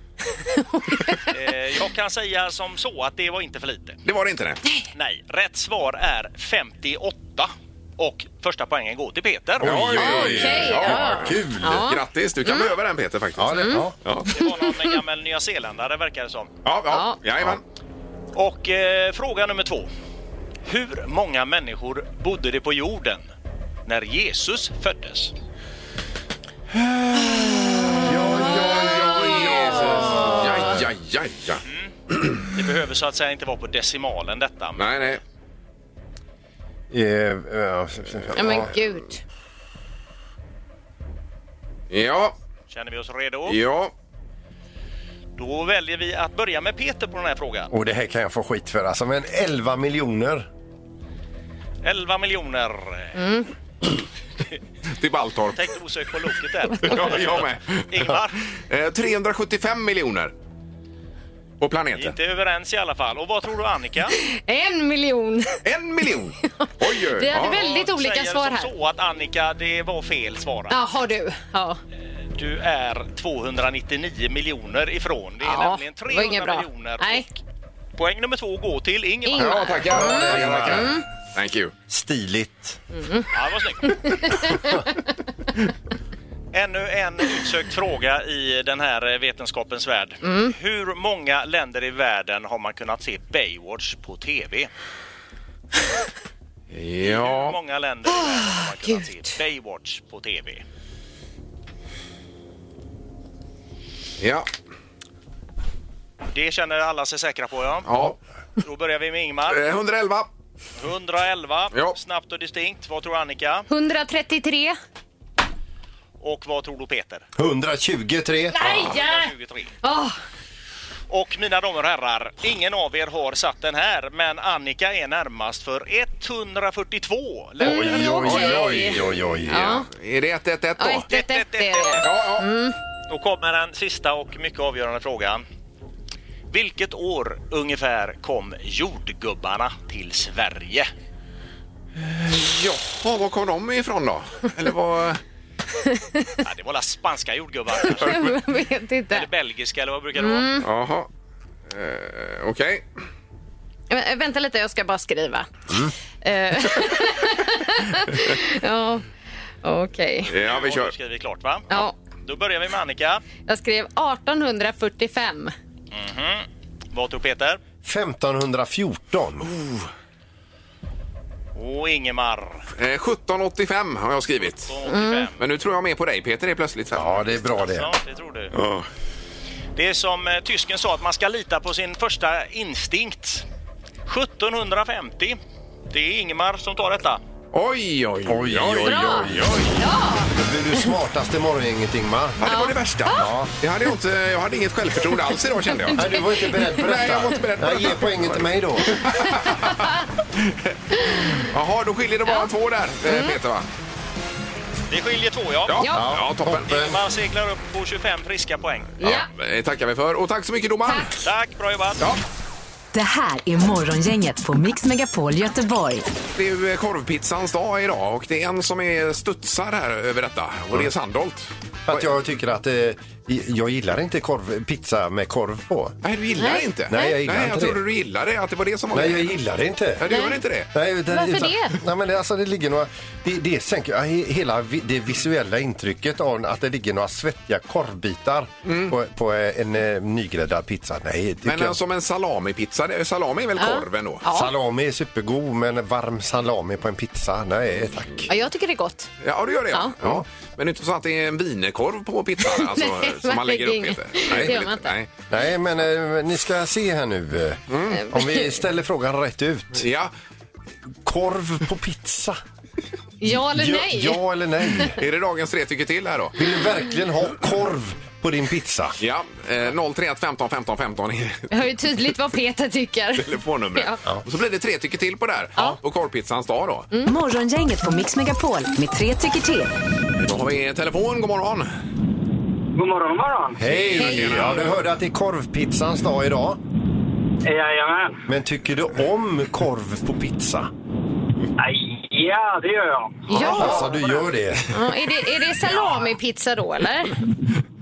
Speaker 10: Eh, jag kan säga som så att det var inte för lite.
Speaker 4: Det var det inte det.
Speaker 10: Nej, rätt svar är 58. Och första poängen går till Peter.
Speaker 6: Okej, ja. Mm.
Speaker 4: Kul! Grattis! Du kan behöva den Peter faktiskt.
Speaker 5: Ja, det, ja.
Speaker 4: Ja,
Speaker 10: Det var någon gammal nyzeeländare verkar det som.
Speaker 4: ja, ja.
Speaker 6: Ja.
Speaker 4: jajamän.
Speaker 10: Och eh, fråga nummer två. Hur många människor bodde det på jorden när Jesus föddes?
Speaker 4: Ja, ja, ja, ja.
Speaker 10: Det behöver så att säga inte vara på decimalen detta.
Speaker 4: Nej,
Speaker 10: Men
Speaker 4: nej.
Speaker 5: Eh, eh,
Speaker 6: Ja, men gud.
Speaker 4: Ja,
Speaker 10: känner vi oss redo?
Speaker 4: ja.
Speaker 10: Då väljer vi att börja med Peter på den här frågan.
Speaker 5: Och det här kan jag få skit för alltså, men 11 miljoner.
Speaker 10: 11 miljoner.
Speaker 6: Mm.
Speaker 4: Till Baltorp.
Speaker 10: Tänkte osökt på Loket
Speaker 6: <laughs>
Speaker 10: där.
Speaker 4: Ja, jag med.
Speaker 10: Ingvar,
Speaker 4: Eh, 375 miljoner. På
Speaker 10: vi är
Speaker 4: planeten.
Speaker 10: inte överens i alla fall. Och vad tror du Annika?
Speaker 6: En miljon.
Speaker 4: En miljon! Oj, oj.
Speaker 6: Vi hade
Speaker 4: Ja.
Speaker 6: väldigt olika
Speaker 10: Säger
Speaker 6: svar
Speaker 10: som
Speaker 6: här.
Speaker 10: så att Annika, det var fel svarat.
Speaker 6: Jaha du. Ja.
Speaker 10: Du är 299 miljoner ifrån. Det är
Speaker 6: Ja,
Speaker 10: nämligen
Speaker 6: det var
Speaker 10: 300
Speaker 6: inget bra.
Speaker 10: miljoner.
Speaker 6: Nej.
Speaker 10: Och Poäng nummer två går till Ingmar.
Speaker 6: Ingmar.
Speaker 4: Ja, tackar. Tackar, tackar. Thank you.
Speaker 5: Stiligt.
Speaker 4: <laughs>
Speaker 10: Ja, det var snyggt. Ännu en utsökt fråga i den här eh, vetenskapens värld.
Speaker 4: Mm.
Speaker 10: Hur många länder i världen har man kunnat se Baywatch på TV? Hur
Speaker 4: Ja, Ah,
Speaker 10: många länder i världen har man kunnat se Baywatch på TV?
Speaker 4: ja,
Speaker 10: Det känner alla sig säkra på, ja.
Speaker 4: ja.
Speaker 10: Då börjar vi med Ingmar.
Speaker 4: Eh, 111.
Speaker 10: 111,
Speaker 4: Eh. Ja.
Speaker 10: snabbt och distinkt. Vad tror Annika?
Speaker 6: 133.
Speaker 10: Och vad tror du Peter?
Speaker 5: 123.
Speaker 6: Nej!
Speaker 10: 23.
Speaker 6: Åh,
Speaker 10: Och mina damer och herrar, ingen av er har satt den här, men Annika är närmast för 142 länder.
Speaker 5: Oj, oj, oj, oj, oj.
Speaker 4: Ja. Är det 111
Speaker 6: ja,
Speaker 4: då?
Speaker 6: ett, ett, ett är det.
Speaker 4: Ja, ja.
Speaker 10: Då kommer den sista och mycket avgörande frågan. Vilket år ungefär kom jordgubbarna till Sverige?
Speaker 4: Jaha, var kom de ifrån då? Eller vad...
Speaker 10: Ja, det var alla spanska jordgubbar kanske.
Speaker 6: Jag vet
Speaker 10: Eller
Speaker 6: inte.
Speaker 10: belgiska eller vad brukar det vara?
Speaker 4: <laughs> Jaha. Eh, Okej.
Speaker 6: Vä- Vänta lite, jag ska bara skriva.
Speaker 10: Mm.
Speaker 6: Eh, <laughs> ja, okej.
Speaker 4: Ja, vi
Speaker 10: Har
Speaker 4: kör.
Speaker 10: du skrivit klart va?
Speaker 6: Ja,
Speaker 10: Då börjar vi med Annika.
Speaker 6: jag skrev 1845.
Speaker 10: Vad tror Peter?
Speaker 5: 1514.
Speaker 10: Och Ingemar.
Speaker 4: Eh, 1785 har jag skrivit.
Speaker 10: 85.
Speaker 4: Men nu tror jag mer på dig Peter, det är plötsligt. Här.
Speaker 5: Ja, det är bra det.
Speaker 10: Ja, det tror du. Det är som eh, tysken sa, att man ska lita på sin första instinkt. 1750. Det är Ingemar som tar detta.
Speaker 4: Oj, oj,
Speaker 5: Oj, oj, oj, oj. Det blir du smartaste morgongänget, Ingmar.
Speaker 4: Ja, det var det värsta. Ja. Jag, hade ju inte, jag hade inget självförtroende alls idag kände jag.
Speaker 5: Nej, du var inte beredd på detta.
Speaker 4: <laughs> Nej, jag var inte beredd på
Speaker 5: Nej,
Speaker 4: detta.
Speaker 5: Ge poängen
Speaker 4: <laughs>
Speaker 5: till mig då.
Speaker 4: Jaha, då skiljer det bara två där eh, Peter va?
Speaker 10: Det skiljer två, ja.
Speaker 4: Ja, ja.
Speaker 5: Mm. Ja.
Speaker 4: toppen.
Speaker 5: Toppen.
Speaker 10: Man seglar upp på 25 friska poäng.
Speaker 6: Ja.
Speaker 4: Ja, eh, tackar vi för. Och tack så mycket domaren.
Speaker 10: Tack, bra jobbat!
Speaker 4: Ja,
Speaker 3: Det här är Morgongänget på Mix Megapol Göteborg.
Speaker 4: det är ju eh, korvpizzans dag idag och det är en som är studsar här över detta och det är Sandholt.
Speaker 5: För att jag tycker att eh, jag gillar inte korv, pizza med korv på.
Speaker 4: Nej, du gillar det inte?
Speaker 5: Nej, jag gillar
Speaker 4: Nej, jag
Speaker 5: inte det.
Speaker 4: trodde du gillade det, att det var det som var
Speaker 5: Nej, jag
Speaker 4: grejen.
Speaker 5: gillar det
Speaker 4: Ja,
Speaker 5: inte.
Speaker 4: du gör inte det?
Speaker 5: Nej, utan,
Speaker 6: Varför
Speaker 5: utan,
Speaker 6: det?
Speaker 5: Nej, men det, alltså, det ligger några, det, det sänker ja, he- hela vi, det visuella intrycket av att det ligger några svettiga korvbitar på, på eh, en eh, nygräddad pizza. Nej, tycker
Speaker 4: Mm. Men
Speaker 5: jag.
Speaker 4: eh, som en salamipizza, det- salami är väl korv ändå?
Speaker 6: Ja.
Speaker 5: Salami är supergod, men varm salami på en pizza? Nej, tack.
Speaker 6: Ja, jag tycker det är gott.
Speaker 4: Ja, du gör det. Ja.
Speaker 6: Ja.
Speaker 4: Ja. Men det är inte så att det är en vinerkorv på
Speaker 6: <laughs>
Speaker 4: pizzan alltså,
Speaker 6: Nej,
Speaker 4: som man lägger upp?
Speaker 6: verkligen.
Speaker 4: Peter.
Speaker 6: Det
Speaker 4: Nej,
Speaker 6: gör man inte.
Speaker 4: Nej.
Speaker 5: Nej, men eh, ni ska se här nu. eh,
Speaker 4: Mm.
Speaker 5: Om vi ställer frågan rätt ut.
Speaker 4: Ja,
Speaker 5: Korv på pizza?
Speaker 6: Ja eller
Speaker 5: Ja-
Speaker 6: nej?
Speaker 5: Ja eller nej?
Speaker 4: är det dagens tre tycker till här då?
Speaker 5: Vill du verkligen ha korv på din pizza?
Speaker 4: Ja, eh, 031 15 15 15 är
Speaker 6: Jag hör ju tydligt vad Peter tycker.
Speaker 4: <laughs> telefonnumret. Och så blir det tre tycker till på det här på korvpizzans dag då.
Speaker 6: Mm.
Speaker 3: Morgongänget på Mix Megapol med tre tycker till.
Speaker 4: Då har vi telefon, god morgon.
Speaker 7: God morgon, god morgon.
Speaker 5: Hej! Ja, du hörde att det är korvpizzans dag idag.
Speaker 7: Jajamän.
Speaker 5: Men tycker du om korv på pizza?
Speaker 7: Aj, Ja, det gör jag.
Speaker 6: Ja.
Speaker 5: Alltså, du gör det.
Speaker 6: Ja, Är det, är det salamipizza då eller?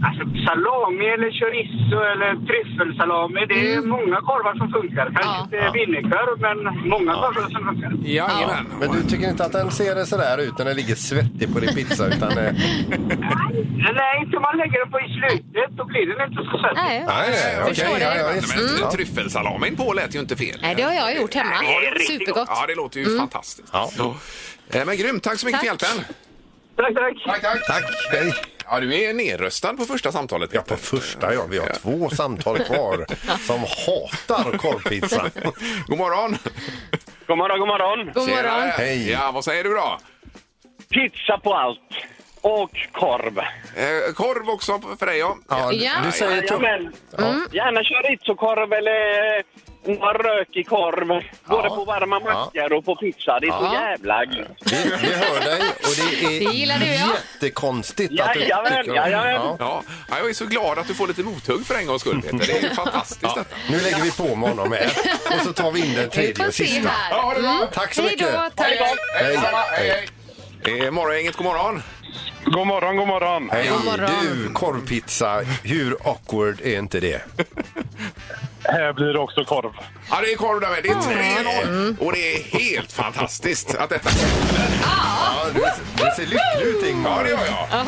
Speaker 7: Alltså, salami eller chorizo eller tryffelsalami. Det är många korvar som funkar. Kanske
Speaker 6: Mm. Ja.
Speaker 7: inte vinnekorv, men många korvar som funkar.
Speaker 4: Jajamän.
Speaker 5: Men du tycker inte att den ser sådär ut när den ligger svettig på din pizza? Utan, eh,
Speaker 7: Nej, Nej, inte om man lägger det på i slutet. Då blir den inte så söt.
Speaker 6: Nej.
Speaker 5: nej, nej, okej.
Speaker 6: Förstår
Speaker 5: ja,
Speaker 6: det.
Speaker 5: ja,
Speaker 4: Men
Speaker 5: visst.
Speaker 4: try-
Speaker 5: Ja.
Speaker 4: Tryffelsalamin på lät ju inte fel.
Speaker 6: Nej, det har jag gjort hemma.
Speaker 7: Det är riktigt
Speaker 6: Supergott.
Speaker 4: Ja, det låter ju fantastiskt.
Speaker 5: Ja.
Speaker 4: Eh, Men grymt, tack så mycket
Speaker 6: Tack.
Speaker 4: för hjälpen.
Speaker 7: Tack,
Speaker 4: Tack,
Speaker 7: tack.
Speaker 4: tack.
Speaker 5: Tack, hej.
Speaker 4: Ja, du är nerröstad på första samtalet.
Speaker 5: Ja, på
Speaker 4: Peter.
Speaker 5: första ja. Vi har två samtal kvar som hatar korvpizza.
Speaker 4: God morgon!
Speaker 9: God morgon, god morgon.
Speaker 6: God morgon.
Speaker 5: Hej.
Speaker 4: Ja, vad säger du då?
Speaker 9: Pizza på allt. Och korv.
Speaker 4: Eh, korv också för dig, ja.
Speaker 5: Ja,
Speaker 6: Ja.
Speaker 5: Du säger to-
Speaker 9: Jajamän. Gärna chorizokorv eller eh, någon rökig korv. Både på varma mackor och på pizza. Det är så jävla gött.
Speaker 5: vi, vi hör dig och det är
Speaker 6: Det gillar du, ja.
Speaker 5: jättekonstigt att du
Speaker 9: Jajamän,
Speaker 5: tycker om-
Speaker 9: jajamän.
Speaker 4: Ja, ja, jag är så glad att du får lite mothugg för en gångs skull, Peter. Det är
Speaker 5: <laughs>
Speaker 4: ju fantastiskt detta.
Speaker 5: Nu lägger vi på med honom här och så tar vi in den
Speaker 6: Vi
Speaker 5: tredje
Speaker 6: får
Speaker 5: och
Speaker 6: se
Speaker 5: sista.
Speaker 6: här. Mm.
Speaker 4: Ja, det är bra.
Speaker 5: Tack så
Speaker 6: Hej
Speaker 5: mycket.
Speaker 6: då. Tack.
Speaker 5: Hej.
Speaker 4: hej, hej. Eh, Morgongänget, god morgon.
Speaker 9: God morgon, god morgon.
Speaker 5: Hej
Speaker 6: God morgon.
Speaker 5: du, korvpizza. Hur awkward är inte det?
Speaker 9: Här blir det också korv.
Speaker 4: Ja, det är korv där med. Det är 3-0. Och det är helt fantastiskt att detta...
Speaker 5: Ja, du, det ser lycklig ut
Speaker 4: Ah. Ja,
Speaker 5: Ingmar.
Speaker 4: det gör jag.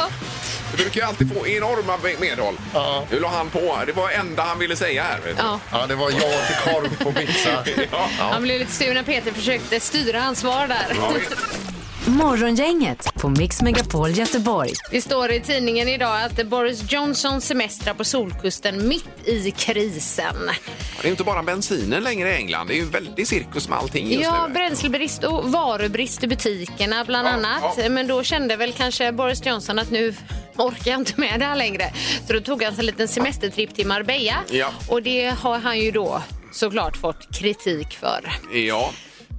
Speaker 4: brukar ju alltid få enorma be- medhåll.
Speaker 5: Ja.
Speaker 4: Nu la han på. Det var det enda han ville säga här. Vet du.
Speaker 6: Ja.
Speaker 5: Ja, det var jag till korv på pizza.
Speaker 4: Ja.
Speaker 6: Han blev lite sur när Peter försökte styra hans svar där.
Speaker 4: Ja, visst.
Speaker 3: Morgongänget på Mix Megapol Göteborg.
Speaker 6: Det står i tidningen idag att Boris Johnson semestrar på Solkusten mitt i krisen.
Speaker 4: Det är inte bara bensinen längre i England. Det är ju en väldig cirkus med allting just
Speaker 6: Ja,
Speaker 4: nu.
Speaker 6: bränslebrist och varubrist i butikerna bland
Speaker 4: Ja,
Speaker 6: annat.
Speaker 4: ja.
Speaker 6: Men då kände väl kanske Boris Johnson att nu orkar jag inte med det här längre. Så då tog han sig en liten semestertripp till Marbella
Speaker 4: Ja.
Speaker 6: och det har han ju då såklart fått kritik för.
Speaker 4: Ja,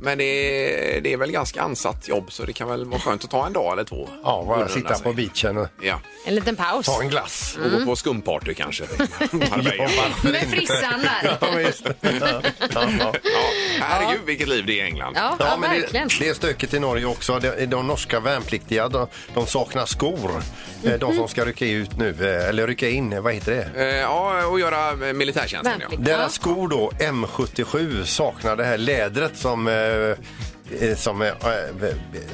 Speaker 4: men det är, det är väl ganska ansatt jobb så det kan väl vara skönt att ta en dag eller två.
Speaker 5: Ja,
Speaker 4: Unna
Speaker 5: bara sitta
Speaker 4: sig.
Speaker 5: på beachen och
Speaker 4: Ja,
Speaker 6: En liten paus.
Speaker 5: ta en glass.
Speaker 4: och
Speaker 6: Mm.
Speaker 4: gå på skumparty
Speaker 5: <laughs>
Speaker 4: kanske. Marbella.
Speaker 6: Med frissan där.
Speaker 5: Ja, visst. Ja, ja.
Speaker 4: ja, herregud vilket liv det är i England.
Speaker 6: Ja, ja,
Speaker 5: Ja, men det,
Speaker 6: verkligen.
Speaker 5: det är stökigt i Norge också. De, de norska värnpliktiga de, de saknar skor. Eh,
Speaker 6: Mhm.
Speaker 5: De som ska rycka ut nu, eh, eller rycka in, vad heter det?
Speaker 4: Eh, Ja, och göra eh, militärtjänsten. Ja.
Speaker 6: Värnplikt.
Speaker 5: Deras
Speaker 6: Ja.
Speaker 5: skor då, M77, saknar det här lädret som, eh, eh, som, eh, eh,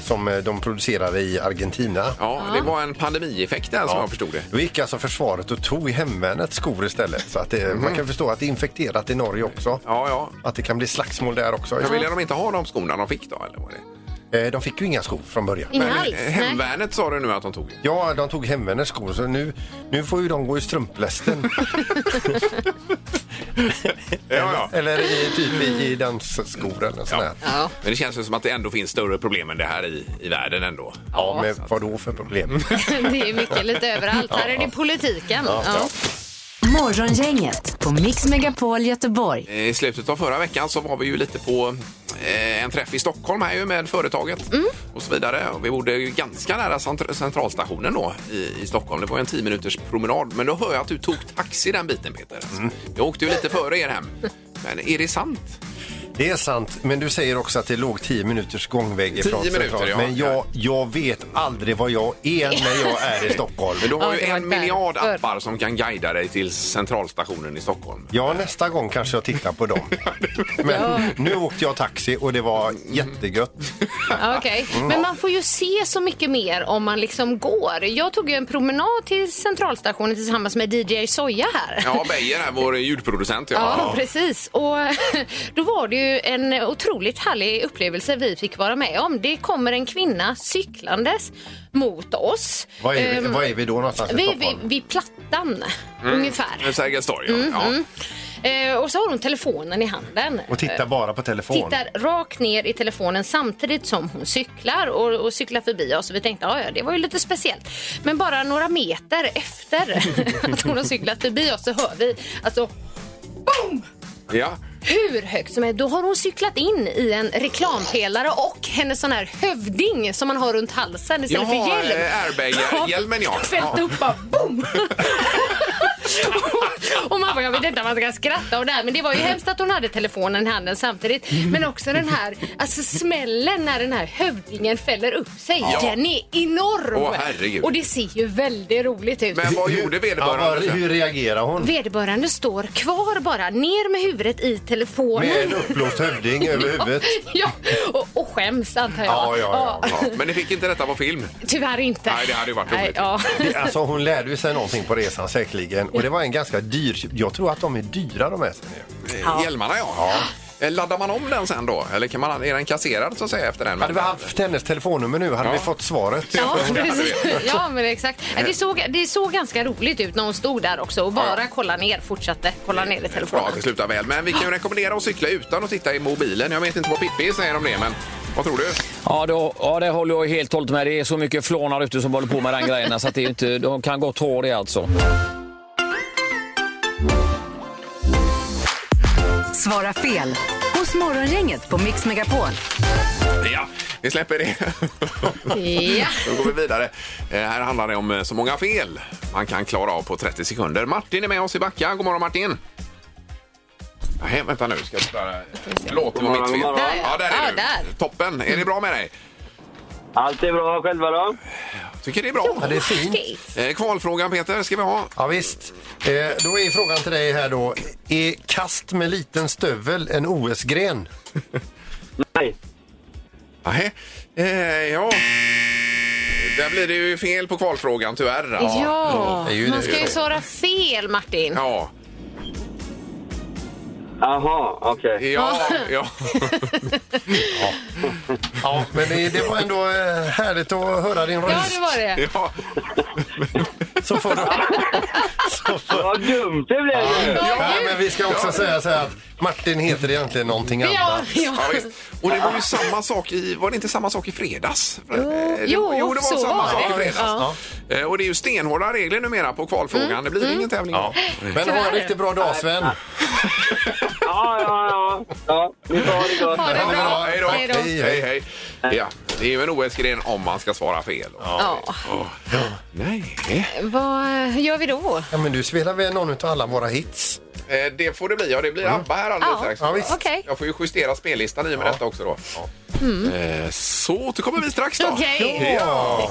Speaker 5: som eh, de producerar i Argentina.
Speaker 4: ja, det var en pandemieffekt där som jag förstod det.
Speaker 5: Då gick alltså försvaret och tog hemvärnet skor istället. Så att det,
Speaker 6: Mhm.
Speaker 5: man kan förstå att det är infekterat i Norge också.
Speaker 4: Ja, ja.
Speaker 5: Att det kan bli slagsmål där också.
Speaker 4: Men ville de inte ha de skorna de fick då? Eller var det?
Speaker 5: Eh, De fick ju inga skor från början.
Speaker 6: Inga
Speaker 4: Men,
Speaker 6: alls.
Speaker 4: eh,
Speaker 6: Nej.
Speaker 4: hemvärnet sa du nu att de tog.
Speaker 5: Ja, de tog hemvärnets skor så nu, nu får ju de gå
Speaker 6: <laughs>
Speaker 5: i strumplästen.
Speaker 4: Ja, ja.
Speaker 5: eller i, typ i, i dansskor eller något sånt där.
Speaker 6: Ja.
Speaker 4: Men det känns ju som att det ändå finns större problem än det här i, i världen ändå.
Speaker 5: Ja, men vad då för problem?
Speaker 6: <laughs> Det är mycket lite överallt. Här är det politiken. Ja.
Speaker 3: Morgongänget på Mix Megapol Göteborg.
Speaker 4: Eh, I slutet av förra veckan så var vi ju lite på eh, en träff i Stockholm här ju med företaget
Speaker 6: Mm.
Speaker 4: och så vidare. Och vi bodde ju ganska nära cent- centralstationen då i, i Stockholm. Det var ju en 10 minuters promenad. Men då hör jag att du tog taxi den biten Peter. Alltså. Jag åkte ju lite före er hem. Men är det sant?
Speaker 5: Det är sant, men du säger också att det låg 10 minuters gångväg ifrån
Speaker 4: minuter,
Speaker 5: centralen.
Speaker 4: ja.
Speaker 5: Men jag, jag vet aldrig vad jag är när jag är i Stockholm.
Speaker 4: Men du har
Speaker 6: Ja,
Speaker 4: ju
Speaker 6: det var
Speaker 4: en
Speaker 6: därför.
Speaker 4: miljard appar som kan guida dig till centralstationen i Stockholm.
Speaker 5: Ja, nästa gång kanske jag tittar
Speaker 4: <laughs>
Speaker 5: på dem. Men nu åkte jag taxi och det var jättegött.
Speaker 6: Ja, okej.
Speaker 5: Mm.
Speaker 6: Men man får ju se så mycket mer om man liksom går. Jag tog ju en promenad till centralstationen tillsammans med DJ Soja här.
Speaker 4: Ja, Beijer här, vår ljudproducent.
Speaker 6: Ja,
Speaker 4: Ja.
Speaker 6: precis. Och <laughs> då var det ju en otroligt härlig upplevelse vi fick vara med om. Det kommer en kvinna cyklandes mot oss.
Speaker 5: Var är, vi,
Speaker 6: Ehm,
Speaker 5: var är vi då någonstans i
Speaker 6: vi, vi,
Speaker 5: Stockholm? Mm.
Speaker 6: vid Plattan, ungefär.
Speaker 4: Sergels torg.
Speaker 6: Mm,
Speaker 4: Ja. Ja.
Speaker 6: Ehm, och så har hon telefonen i handen.
Speaker 5: Och titta bara på telefon.
Speaker 6: Tittar rakt ner i telefonen samtidigt som hon cyklar och, och cyklar förbi oss. Och vi tänkte, "Ja, ja, det var ju lite speciellt. Men bara några meter efter <laughs> att hon har cyklat förbi oss så hör vi alltså
Speaker 4: Ja.
Speaker 6: hur högt som helst. Då har hon cyklat in i en reklampelare och hennes sån här hövding som man har runt halsen istället
Speaker 4: Jaha,
Speaker 6: för hjälm.
Speaker 4: eh, airbag,
Speaker 6: Ja,
Speaker 4: hjälmen, ja.
Speaker 6: Fällt
Speaker 4: Ja.
Speaker 6: upp bara boom! och man bara, jag vet inte om man ska skratta och det här, men det var ju hemskt att hon hade telefonen i handen samtidigt. Men också den här alltså smällen när den här hövdingen fäller upp sig.
Speaker 4: Ja.
Speaker 6: Den är enorm!
Speaker 4: Åh, herregud.
Speaker 6: och det ser ju väldigt roligt ut.
Speaker 4: Men vad gjorde
Speaker 5: Ja,
Speaker 4: vederbörande?
Speaker 5: vad-
Speaker 4: sen?
Speaker 5: hur reagerar hon?
Speaker 6: Vederbörande står kvar bara, ner med huvudet i telefonen.
Speaker 5: Med en uppblåst hövding över huvudet.
Speaker 6: <laughs> Ja, och, och skäms antar jag.
Speaker 5: Ja, ja, ja.
Speaker 4: Ja, men ni fick inte detta på film?
Speaker 6: Tyvärr inte.
Speaker 4: Nej, det hade ju varit
Speaker 6: Nej,
Speaker 4: roligt.
Speaker 6: ja.
Speaker 5: Det- Alltså hon lärde ju sig någonting på resan säkerligen. Och det var en ganska dyr... Jag tror att de är dyra de här. sen ju.
Speaker 4: Eh, Hjälmarna, ja. Eh, Laddar man om den sen då? Eller kan man, är den kasserad så att säga efter den?
Speaker 5: Hade vi haft hennes telefonnummer nu hade
Speaker 4: Ja.
Speaker 5: vi fått svaret.
Speaker 6: Ja, precis. ja, men exakt. Ja, Det såg, det såg ganska roligt ut när hon stod där också och bara kollade ner, fortsatte kolla ner i
Speaker 4: Bra
Speaker 6: telefonen.
Speaker 4: att det slutar väl. Men vi kan ju rekommendera att cykla utan att titta i mobilen. Jag vet inte vad Pippi säger om det, men vad tror du?
Speaker 11: Ja, då, ja, det håller jag helt och hållet med. Det är så mycket flånar ute som håller på med den grejen. Så alltså att det är inte, <laughs> de kan gott ha det alltså.
Speaker 3: Svara fel hos Morgongänget på Mix Megapol.
Speaker 4: Ja, vi släpper det.
Speaker 6: Ja.
Speaker 4: Då går vi vidare. Eh, Här handlar det om eh, så många fel man kan klara av på 30 sekunder. Martin är med oss i Backa. God morgon Martin! Nej, vänta nu. Ska jag bara... Förlåt, det var mitt fel.
Speaker 6: morgon.
Speaker 4: Ja, där
Speaker 6: Ja,
Speaker 4: är du.
Speaker 6: där.
Speaker 4: Toppen. Är det bra med dig?
Speaker 9: Allt är bra själva då?
Speaker 4: Tycker det är bra.
Speaker 5: Ja, det är fint.
Speaker 6: Okej.
Speaker 4: Eh, Kvalfrågan Peter ska vi ha.
Speaker 5: Ja, visst. Eh, då är frågan till dig här då. Är kast med liten stövel en OS-gren?
Speaker 9: Nej.
Speaker 4: Nej. Eh, ja. Där blir det ju fel på kvalfrågan tyvärr.
Speaker 6: Ja,
Speaker 4: Det är
Speaker 6: man ska ju
Speaker 4: det.
Speaker 6: svara fel Martin.
Speaker 4: Ja.
Speaker 9: Jaha, okej.
Speaker 4: Ja, ja.
Speaker 5: Ja, men det, det var ändå eh, härligt att höra din
Speaker 6: Ja,
Speaker 5: röst.
Speaker 6: det var det.
Speaker 4: ja.
Speaker 5: Så får du... Så får...
Speaker 9: Vad dumt det blev ju!
Speaker 5: Ja, men vi ska också säga så här att Martin heter egentligen någonting
Speaker 6: Ja,
Speaker 5: annat.
Speaker 6: ja.
Speaker 4: Ja, visst. Och det var ju samma sak i, var det inte samma sak i fredags? Jo,
Speaker 6: jo,
Speaker 4: jo det var
Speaker 6: så
Speaker 4: samma
Speaker 6: var
Speaker 4: sak
Speaker 6: det.
Speaker 4: i fredags. Eh, Och det är ju stenhårda regler numera på kvalfrågan.
Speaker 6: Mm,
Speaker 4: Det blir ingen tävling.
Speaker 5: Ja. Men ha
Speaker 6: Tyvärr.
Speaker 5: en riktigt bra dag, Sven.
Speaker 9: Ja, ja, ja. ja ni får ha det gott.
Speaker 6: Ha det
Speaker 4: Ja,
Speaker 6: bra.
Speaker 4: Hej då.
Speaker 6: Hej då.
Speaker 5: Hej,
Speaker 4: Hej, hej. Ja, det är ju en OS-gren om man ska svara fel.
Speaker 6: Ja,
Speaker 4: Åh. Nej.
Speaker 6: vad gör vi då?
Speaker 5: Ja, men du spelar väl någon av alla våra hits?
Speaker 4: Eh, Det får det bli. Ja, det blir ABBA här alldeles
Speaker 6: Ja,
Speaker 4: strax.
Speaker 5: Mm. ja, visst.
Speaker 6: okej. Mm.
Speaker 4: Jag får ju justera spellistan i och med detta också då. Eh, Så återkommer vi strax då.
Speaker 6: Okej.
Speaker 4: Ja.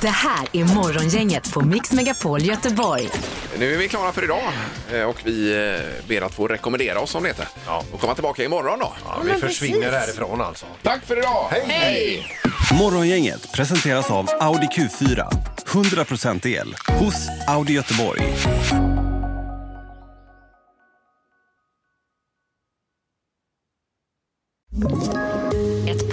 Speaker 3: Det här är Morgongänget på Mix Megapol Göteborg.
Speaker 4: Nu är vi klara för idag eh, och vi eh, ber att få rekommendera oss om det heter. Och komma tillbaka imorgon då.
Speaker 5: Ja, vi
Speaker 6: men
Speaker 5: försvinner
Speaker 6: precis.
Speaker 5: härifrån alltså.
Speaker 4: Tack för idag!
Speaker 6: Hej.
Speaker 10: Morgongänget presenteras av Audi Q4. 100% el hos Audi Göteborg.
Speaker 3: Ett